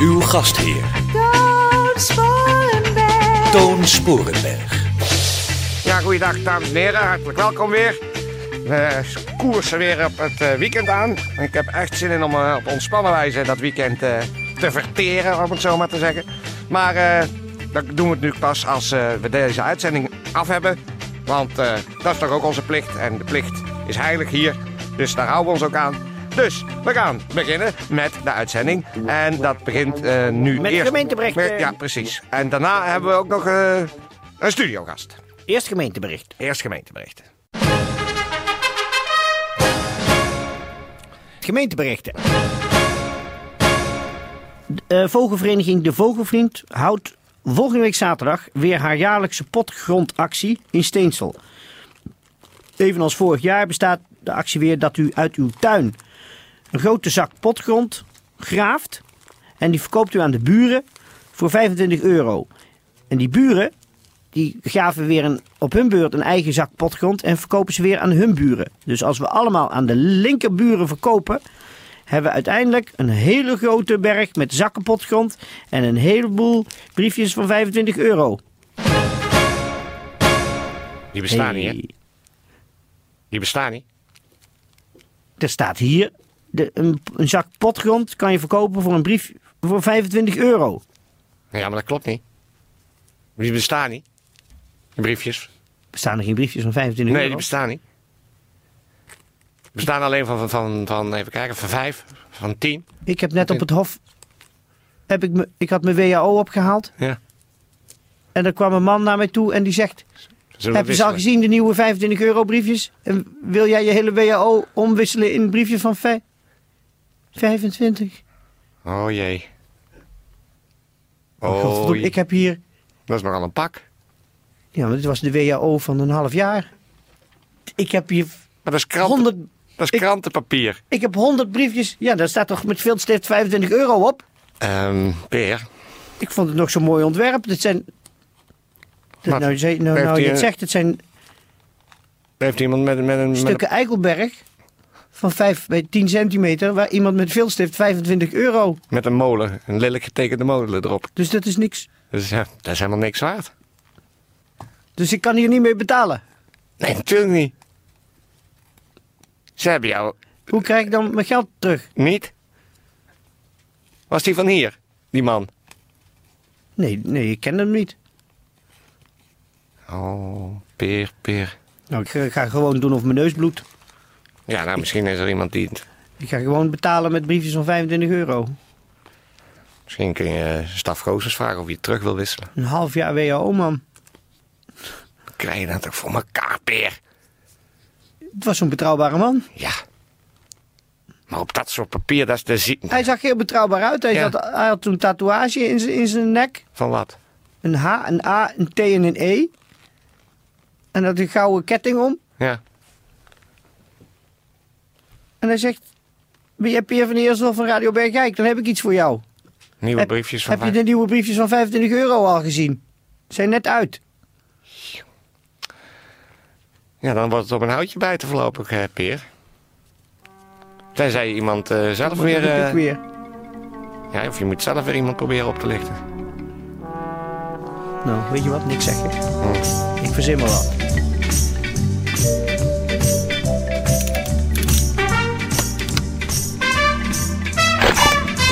Uw gastheer Toon Sporenberg. Toon Sporenberg. Ja, goeiedag dames en heren, hartelijk welkom weer. We koersen weer op het eh, weekend aan. Ik heb echt zin in om eh, op ontspannen wijze dat weekend eh, te verteren, om het zo maar te zeggen. Maar eh, dat doen we het nu pas als eh, we deze uitzending af hebben. Want eh, dat is toch ook onze plicht en de plicht is heilig hier. Dus daar houden we ons ook aan. Dus we gaan beginnen met de uitzending. En dat begint eh, nu Met eerst... gemeentebericht, eh. Ja, precies. En daarna hebben we ook nog eh, een studiogast. Eerst gemeentebericht. Eerst gemeenteberichten. Gemeenteberichten. De eh, vogelvereniging De Vogelvriend houdt volgende week zaterdag weer haar jaarlijkse potgrondactie in Steensel. Evenals vorig jaar bestaat de actie weer dat u uit uw tuin een grote zak potgrond graaft en die verkoopt u aan de buren voor 25 euro. En die buren die gaven weer een, op hun beurt een eigen zak potgrond en verkopen ze weer aan hun buren. Dus als we allemaal aan de linkerburen verkopen, hebben we uiteindelijk een hele grote berg met zakken potgrond en een heleboel briefjes van 25 euro. Die bestaan niet, hè? Hey, Die bestaan niet. er staat hier, de, een, een zak potgrond kan je verkopen voor een brief voor 25 euro. Ja, maar dat klopt niet. Die bestaan niet. Die briefjes. Bestaan er geen briefjes van 25 Nee, euro? die bestaan niet. Die bestaan alleen van, van, van, even kijken, van vijf, van tien. Ik heb net op het hof, heb ik, me, ik had mijn WHO opgehaald Ja. en er kwam een man naar mij toe en die zegt... Zullen we Heb je ze wisselen? al gezien, de nieuwe 25 euro briefjes? En wil jij je hele WHO omwisselen in een briefje van vij- 25? Oh jee. Oh, Oh, jee. ik heb hier... dat is nogal een pak. Ja, maar dit was de WHO van een half jaar. Ik heb hier Maar dat is, kranten, 100, dat is ik- krantenpapier. ik heb 100 briefjes. Ja, daar staat toch met veel stift 25 euro op? Ehm Peer, Ik vond het nog zo'n mooi ontwerp. Dit zijn... Dat- Wat? nou, je- nou, Heeft nou hij je het een- zegt, het zijn heeft iemand met, met een... Met stukken eikelberg van 5 bij 10 centimeter... waar iemand met veel stift 25 euro... een, met een molen, een lelijk getekende molen erop. Dus dat is niks. Dat is, eh, dat is helemaal niks waard. Dus ik kan hier niet mee betalen. Nee, natuurlijk niet. Ze hebben jou Hoe krijg ik dan mijn geld terug? niet. Was die van hier, die man? Nee, nee, ik ken hem niet. Oh, peer, peer. Nou, ik ga- ga gewoon doen of mijn neus bloedt. Ja, nou, misschien is er iemand die... het- Ik ga gewoon betalen met briefjes van 25 euro. Misschien kun je eh, Staf Goosens vragen of hij het terug wil wisselen. Een half jaar WHO, man. Wat Krijg je dat toch voor elkaar, peer? Het was zo'n betrouwbare man. Ja. Maar op dat soort papier, dat is de ziekte. Hij zag heel betrouwbaar uit. Hij, Ja. zat, hij had zo'n tatoeage in zijn, in zijn nek. Van wat? Een H, een A, een T en een E. En had een gouden ketting om. Ja. En hij zegt... Ben jij Peer van de Eersel van Radio Bergijk? Dan heb ik iets voor jou. Nieuwe Heb- briefjes van... Heb je waar- de nieuwe briefjes van 25 euro al gezien? Zijn net uit. Ja, dan wordt het op een houtje bij te voorlopig, eh, peer. Tenzij iemand eh, zelf weer... Dat doe eh, ik weer. Ja, of je moet zelf weer iemand proberen op te lichten. Nou, weet je wat? Niks zeggen. Ik verzin maar wat.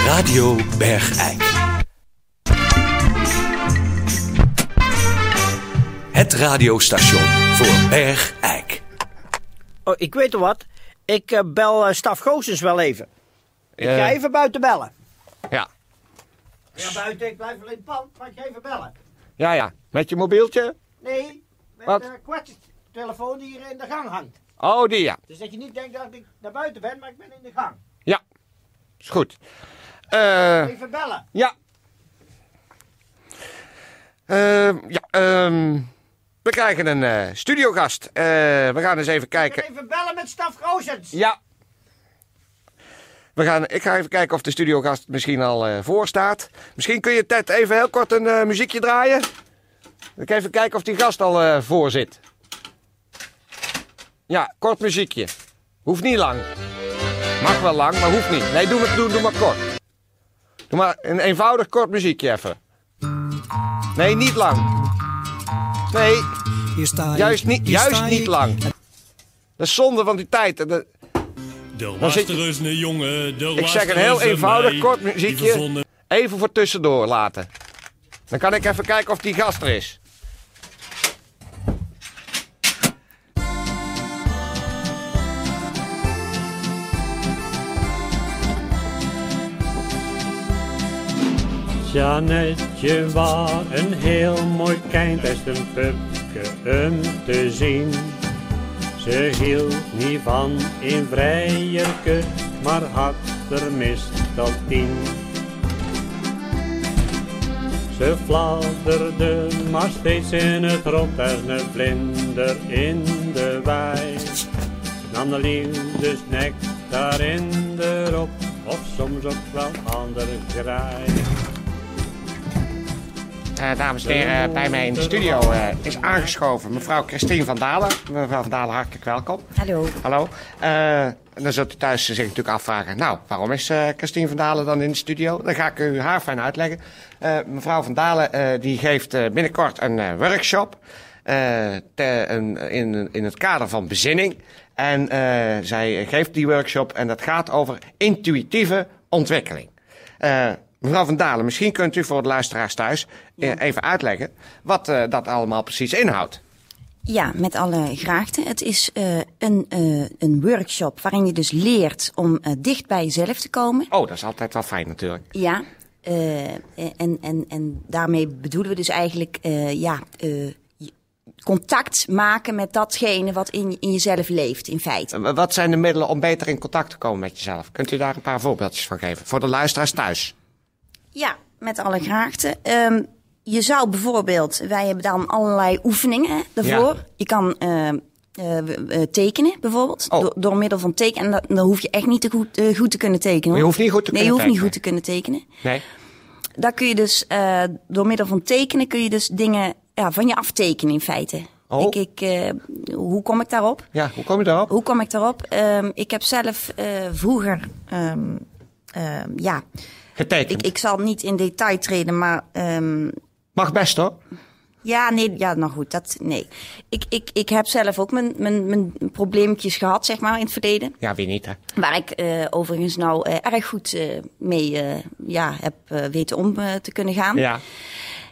Radio Bergijk. Het radiostation voor Bergijk. Oh, ik weet er wat. Ik eh, bel eh, Staf Goosens wel even. Ik ga even buiten bellen. Eh. Ja. Ja, buiten. Ik blijf alleen in het pand, maar ik ga even bellen. Ja, ja. Met je mobieltje? Nee, met Wat? de kwartstelefoon die hier in de gang hangt. Oh, die ja. Dus dat je niet denkt dat ik naar buiten ben, maar ik ben in de gang. Ja. Is goed. Eh Even bellen. ja. Eh, ja, ehm, we krijgen een eh, studiogast. Eh, we gaan eens even kijken. Even bellen met Staf Roosens. eh, Ja. We gaan, ik ga even kijken of de studiogast misschien al eh, voor staat. Misschien kun je Ted even heel kort een eh, muziekje draaien. Ik even kijken of die gast al eh, voor zit. Ja, kort muziekje. Hoeft niet lang. Mag wel lang, maar hoeft niet. Nee, doe, maar- doe, doe maar kort. Doe maar een eenvoudig kort muziekje even. Nee, niet lang. Nee, Hier sta ik, juist niet, hier juist sta niet ik. lang. Dat is zonde van die tijd. En dat- Er Dan was zit er je- eens een jongen, er Ik was zeg een er heel eens eenvoudig meid, kort die muziekje. verzonnen- Even voor tussendoor laten. Dan kan ik even kijken of die gast er is. Jannetje, was een heel mooi kind, best een pupke om te zien. Ze hield niet van een vrijerke, maar had er meestal tien. Ze fladderde maar steeds in het rond als een vlinder in de wei. Nam de liefdes nectar in de rop, of soms ook wel ander graai. Eh, dames en heren, bij mij in de studio eh, is aangeschoven mevrouw Christine van Dalen. Mevrouw van Dalen, hartelijk welkom. Hallo. Hallo. Eh, dan zult u thuis zich natuurlijk afvragen, nou, waarom is eh, Christine van Dalen dan in de studio? Dan ga ik u haar fijn uitleggen. Eh, mevrouw van Dalen eh, die geeft eh, binnenkort een eh, workshop eh, te- een- in, in het kader van bezinning. En eh, zij geeft die workshop en dat gaat over intuïtieve ontwikkeling. Eh, mevrouw van Dalen, misschien kunt u voor de luisteraars thuis eh, even uitleggen wat eh, dat allemaal precies inhoudt. Ja, met alle graagte. Het is eh, een, eh, een workshop waarin je dus leert om eh, dicht bij jezelf te komen. Oh, dat is altijd wel fijn natuurlijk. Ja. eh, en, en, en daarmee bedoelen we dus eigenlijk eh, ja, eh, je- contact maken met datgene wat in, in jezelf leeft, in feite. Eh, Wat zijn de middelen om beter in contact te komen met jezelf? Kunt u daar een paar voorbeeldjes van geven? Voor de luisteraars thuis. Ja, met alle graagte. Ehm, je zou bijvoorbeeld, wij hebben dan allerlei oefeningen hè, daarvoor. Ja. Je kan eh, eh, we- eh, tekenen bijvoorbeeld, Oh. door, door middel van tekenen. En dat- dan hoef je echt niet te goed, eh, goed te kunnen tekenen. hoor. Je hoeft niet goed te nee, kunnen je hoeft niet tekenen. goed te kunnen tekenen. Nee? Daar kun je dus, eh, door middel van tekenen kun je dus dingen ja, van je aftekenen in feite. Oh. Ik, ik, eh, hoe kom ik daarop? Ja, hoe kom je daarop? Hoe kom ik daarop? Ehm, ik heb zelf eh, vroeger, ehm, ehm, ja, Getekend. ik, ik zal niet in detail treden, maar ehm, Mag best hoor. ja, nee, ja, nou goed, dat, nee. Ik, ik, ik heb zelf ook mijn, mijn, mijn probleempjes gehad, zeg maar, in het verleden. Ja, wie niet hè? Waar ik eh, overigens nou eh, erg goed eh, mee eh, ja, heb eh, weten om eh, te kunnen Ah. gaan. Ja.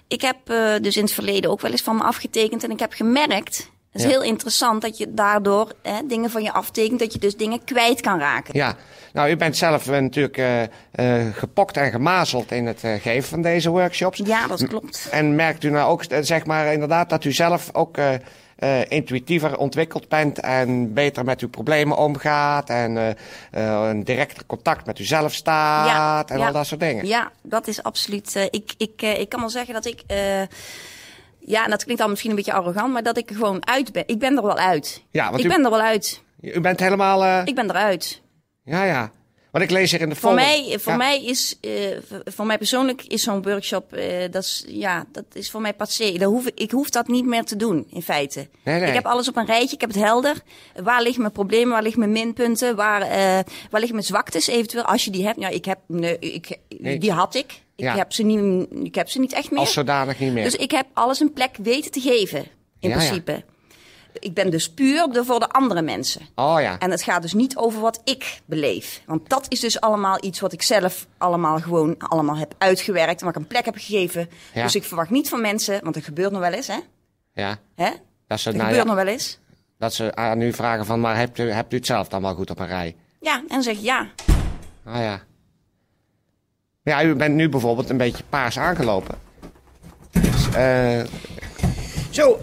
Ik heb eh, dus in het verleden ook wel eens van me afgetekend. En ik heb gemerkt, dat is Ja. heel interessant, dat je daardoor eh, dingen van je aftekent. Dat je dus dingen kwijt kan raken. Ja. Nou, u bent zelf eh, natuurlijk eh, eh, gepokt en gemazeld in het eh, geven van deze workshops. Ja, dat klopt. En merkt u nou ook, eh, zeg maar, inderdaad dat u zelf ook eh, eh, intuïtiever ontwikkeld bent en beter met uw problemen omgaat en eh, eh, een directer contact met uzelf staat en ja. al dat soort dingen? Ja, dat is absoluut. eh, ik, ik, eh, ik kan wel zeggen dat ik. eh, ja, en dat klinkt dan misschien een beetje arrogant, maar dat ik er gewoon uit ben. Ik ben er wel uit. Ja, want ik u- ben er wel uit. U bent helemaal... eh, Ik ben eruit. Ja, ja. Want ik lees hier in de Voor folder- mij, voor Ja. mij is, eh, voor- voor mij persoonlijk is zo'n workshop, eh, dat is, ja, dat is voor mij passé. Daar hoef, ik- ik hoef dat niet meer te doen, in feite. Nee, nee. Ik heb alles op een rijtje, ik heb het helder. Waar liggen mijn problemen, waar liggen mijn minpunten, waar, eh, waar liggen mijn zwaktes eventueel, als je die hebt. Nou, ik heb, nee, ik, Nee. die had ik. Ik, Ja. heb ze niet, ik heb ze niet echt meer. Als zodanig niet meer. Dus ik heb alles een plek weten te geven, Ja, in ja. principe. Ik ben dus puur de- voor de andere mensen. Oh ja. En het gaat dus niet over wat ik beleef. Want dat is dus allemaal iets wat ik zelf allemaal gewoon allemaal heb uitgewerkt. En wat ik een plek heb gegeven. Ja. Dus ik verwacht niet van mensen, want er gebeurt nog wel eens, hè? Ja. hè? Dat ze, Er nou gebeurt ja, nog wel eens. dat ze aan u vragen van, maar hebt u, hebt u het zelf dan wel goed op een rij? Ja, en dan zeg ik ja. Ah ja. Ja, u bent nu bijvoorbeeld een beetje paars aangelopen. Dus, eh, Zo,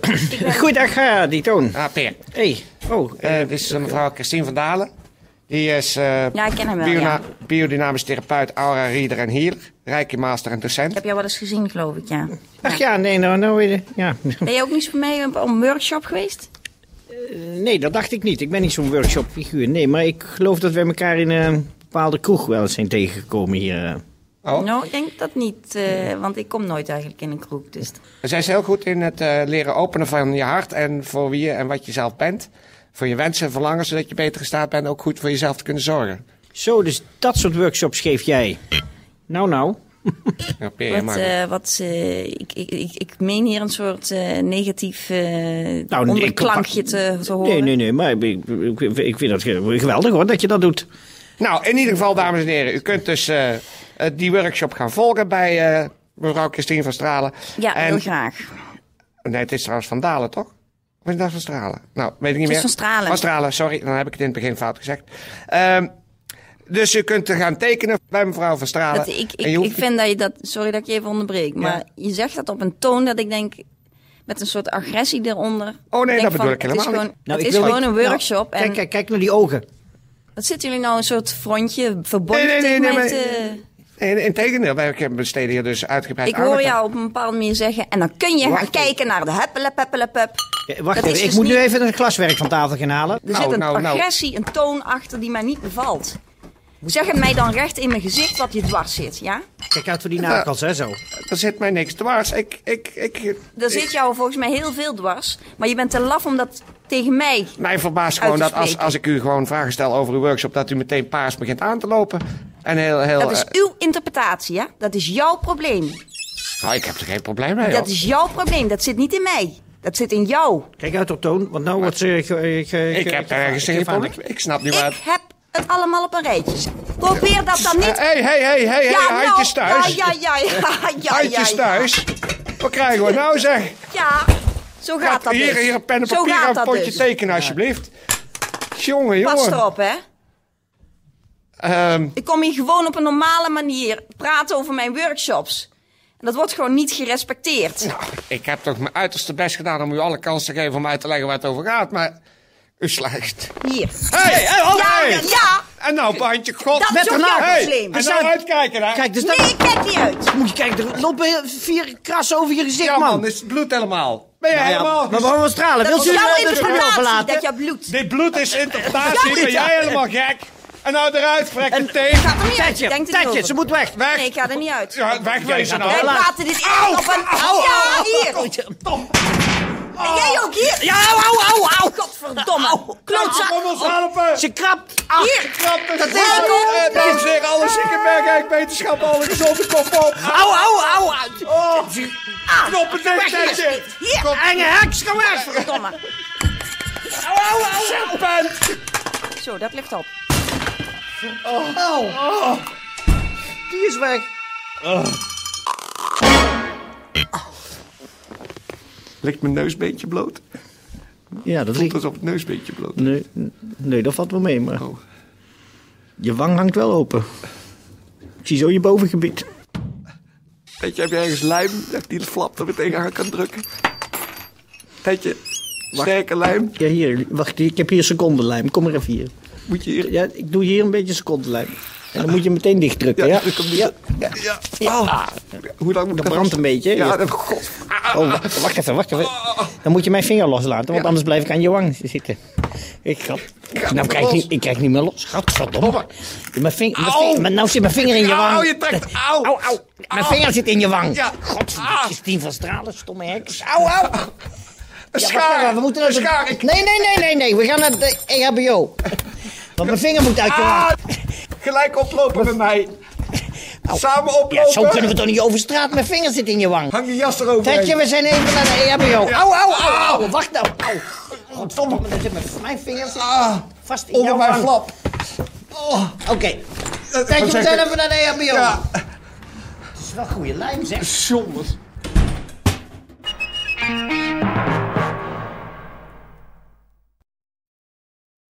goeiedag, eh, die toon. ah, Peer. Hey. Oh, Eh, dit is eh, mevrouw Christine eh, van Dalen. Die is eh, Ja, ik ken hem wel, Ah. biona- ja. biodynamisch therapeut, aura reader en healer. Reiki master en docent. Ik heb jou wel eens gezien, geloof ik, ja. Ach ja, nee, nou, nou weer. de- Ja. Ben je ook niet voor mij op een workshop geweest? Nee, dat dacht ik niet. Ik ben niet zo'n workshopfiguur. Nee, maar ik geloof dat wij elkaar in een bepaalde kroeg wel eens zijn tegengekomen hier. eh. Oh. Nou, ik denk dat niet, eh, want ik kom nooit eigenlijk in een kroeg. Dus. Zij is heel goed in het eh, leren openen van je hart en voor wie je en wat je zelf bent. Voor je wensen en verlangen, zodat je beter in staat bent ook goed voor jezelf te kunnen zorgen. Zo, dus dat soort workshops geef jij. Nou, nou. Ja, peer je Wat, maar. eh, wat, eh, ik, ik, ik, ik meen hier een soort eh, negatief eh Nou, nee, onderklankje ik- te, te horen. Nee, nee, nee, maar ik, ik, ik- ik vind dat ge- geweldig hoor, dat je dat doet. Nou, in ieder geval, dames en heren, u kunt dus eh, eh, die workshop gaan volgen bij eh, mevrouw Christine van Stralen. Ja, en, heel graag. Nee, het is trouwens Van Dalen, toch? Of is het nou Van Stralen? Nou, weet ik niet meer. Het is Van Stralen. Van Stralen, sorry. Dan heb ik het in het begin fout gezegd. Ehm, dus u kunt er gaan tekenen bij mevrouw Van Stralen. Dat, ik, ik, Ah, En je hoeft ik vind dat je dat, sorry dat ik je even onderbreek, maar je zegt dat op een toon dat ik denk met een soort agressie eronder. Oh, nee, Denk dat bedoel van, ik helemaal Het is niet. gewoon, Nou, het ik is wil gewoon niet- een workshop Nou, en kijk, kijk, kijk naar die ogen. wat zitten jullie nou een soort frontje verbonden Nee, eh, nee, nee, tegen mij nee, maar- te- In, in tegendeel, wij hebben- besteden hier dus uitgebreid Ik hoor aandacht aan. jou op een bepaalde manier zeggen en dan kun je gaan Wacht even. kijken naar de heppelepeppelepup. Eh, Wacht Dat even, is ik dus moet nu niet- even het glaswerk van tafel gaan halen. Er Nou, zit een nou, nou. agressie, een toon achter die mij niet bevalt. Zeg het mij dan recht in mijn gezicht wat je dwars zit, ja? Kijk uit voor die nagels, hè, zo. Er zit mij niks dwars. Ik, ik, ik, Er zit jou volgens mij heel veel dwars, maar je bent te laf om dat tegen mij. mij verbaast Uit gewoon te dat als, spreken. als ik u gewoon vragen stel over uw workshop, dat u meteen paars begint aan te lopen. En heel, heel... Dat is eh, uw interpretatie, ja? Dat is jouw probleem. nou, ik heb er geen probleem mee, Dat hoor. is jouw probleem, dat zit niet in mij. Dat zit in jou. Kijk uit op toon, want nou wordt ze... Ik, Ik heb daar ergens geen probleem Ik snap niet Ik waar... heb het allemaal op een rijtje. Probeer dat dan niet... Hé, hé, hé, hé, nou, handjes eh, thuis. Ja, ja, ja, ja, ja, Handjes ja. thuis. Wat krijgen we nou, zeg? Ja, zo gaat dat hier, dus. hier, een pen en Zo papier gaat en een dat potje dus. tekenen, alsjeblieft. Jongen, Pas jongen. erop, hè. Ehm, Ik kom hier gewoon op een normale manier praten over mijn workshops. En dat wordt gewoon niet gerespecteerd. nou, ik heb toch mijn uiterste best gedaan om u alle kans te geven om uit te leggen waar het over gaat, maar u slaagt. Hier. Eh, Hé, hé, ho, Ja, hey. ja, ja. En nou, bandje, god. Dat is ook jouw Hey, probleem. En nou uitkijken, hè. Kijk, dus Nee, dat... ik kijk niet uit. Moet je kijken, er lopen heel- vier krassen over je gezicht, ja, man. man, is het bloed helemaal. Ben je Nou ja, helemaal... maar waarom wel stralen? Dat Wilt is u eh, jouw de spullen interpretatie, dat verlaten? jouw bloed. Dit bloed is interpretatie, ben jij helemaal gek. En nou eruit, vrekken tegen. Gaat er niet uit. Tijdje, Ik denk er niet tijdje, over. ze moet weg. Weg. Nee, ik ga er niet uit. Ja, wegwezen nou. Wij praten dit echt op een... Ja, hier. En jij ook hier. Ja, au, au, au, au. Godverdomme. Kom Klootzak. ons helpen! Ze krapt. Ah, Hier. Knap, dat is is ook- En dames en heren, alle zieke bergijk, wetenschap, alle gezonde kop op. Au, au, au. Oh, Ah, knoppen dicht, weg is Tetje. dit. Hier. Kom. Enge heks, ga weg. Godverdomme. Au, au, au. Serpent. Zo, dat ligt op. Die is weg. Ligt mijn neusbeentje bloot? Ja, dat ligt... Tot op het neusbeentje bloot. Nee, nee, dat valt wel mee, maar... Oh. Je wang hangt wel open. Ik zie zo je bovengebied. Weet je, heb je ergens lijm dat die flap er meteen aan kan drukken? Tetje, sterke lijm. Ja, hier. Wacht, ik heb hier secondenlijm. Kom maar even hier. Moet je hier... Ja, ik doe hier een beetje secondenlijm. En dan moet je hem meteen dichtdrukken, ja? druk hem niet. ja. Ja. Oh. Hoe lang moet ik Dat brandt een beetje. Ja, Ja. dat... God. Oh, wa- wacht even, wacht even. Dan moet je mijn vinger loslaten, want Ja. anders blijf ik aan je wang zitten. Ik ga... Nou, kijk, los. niet- ik kijk niet meer los. Gadverdomme. Domme. Mijn ving, mijn Au. ving- mijn- nou zit mijn vinger in je wang. Au, je trekt... Au, Au, au. Mijn vinger zit in je wang. Ja. Godverdomme, Ah. Christine van Stralen, stomme heks. Au, au. Een Ja, wacht schaar. even, we moeten een naar de- schaar. Ik Nee, nee, nee, nee, nee. We gaan naar de E EHBO. Want mijn vinger moet uit je wang. Ah, gelijk oplopen met mij. Samen oplopen. Ja, zo kunnen we toch niet over straat. Mijn vinger zit in je wang. Hang je jas erover. Tetje, we zijn even naar de EHBO. Ja. Au, au, au, au. Wacht nou. Au. Godverdomme, daar zit mijn, mijn vinger zit vast in Ah. onder jouw mijn wang. flap. Eh, Oké. Tetje, we zeg zijn ik? even naar de EHBO. Ja. Dat is wel goede lijm, zeg. Zonder.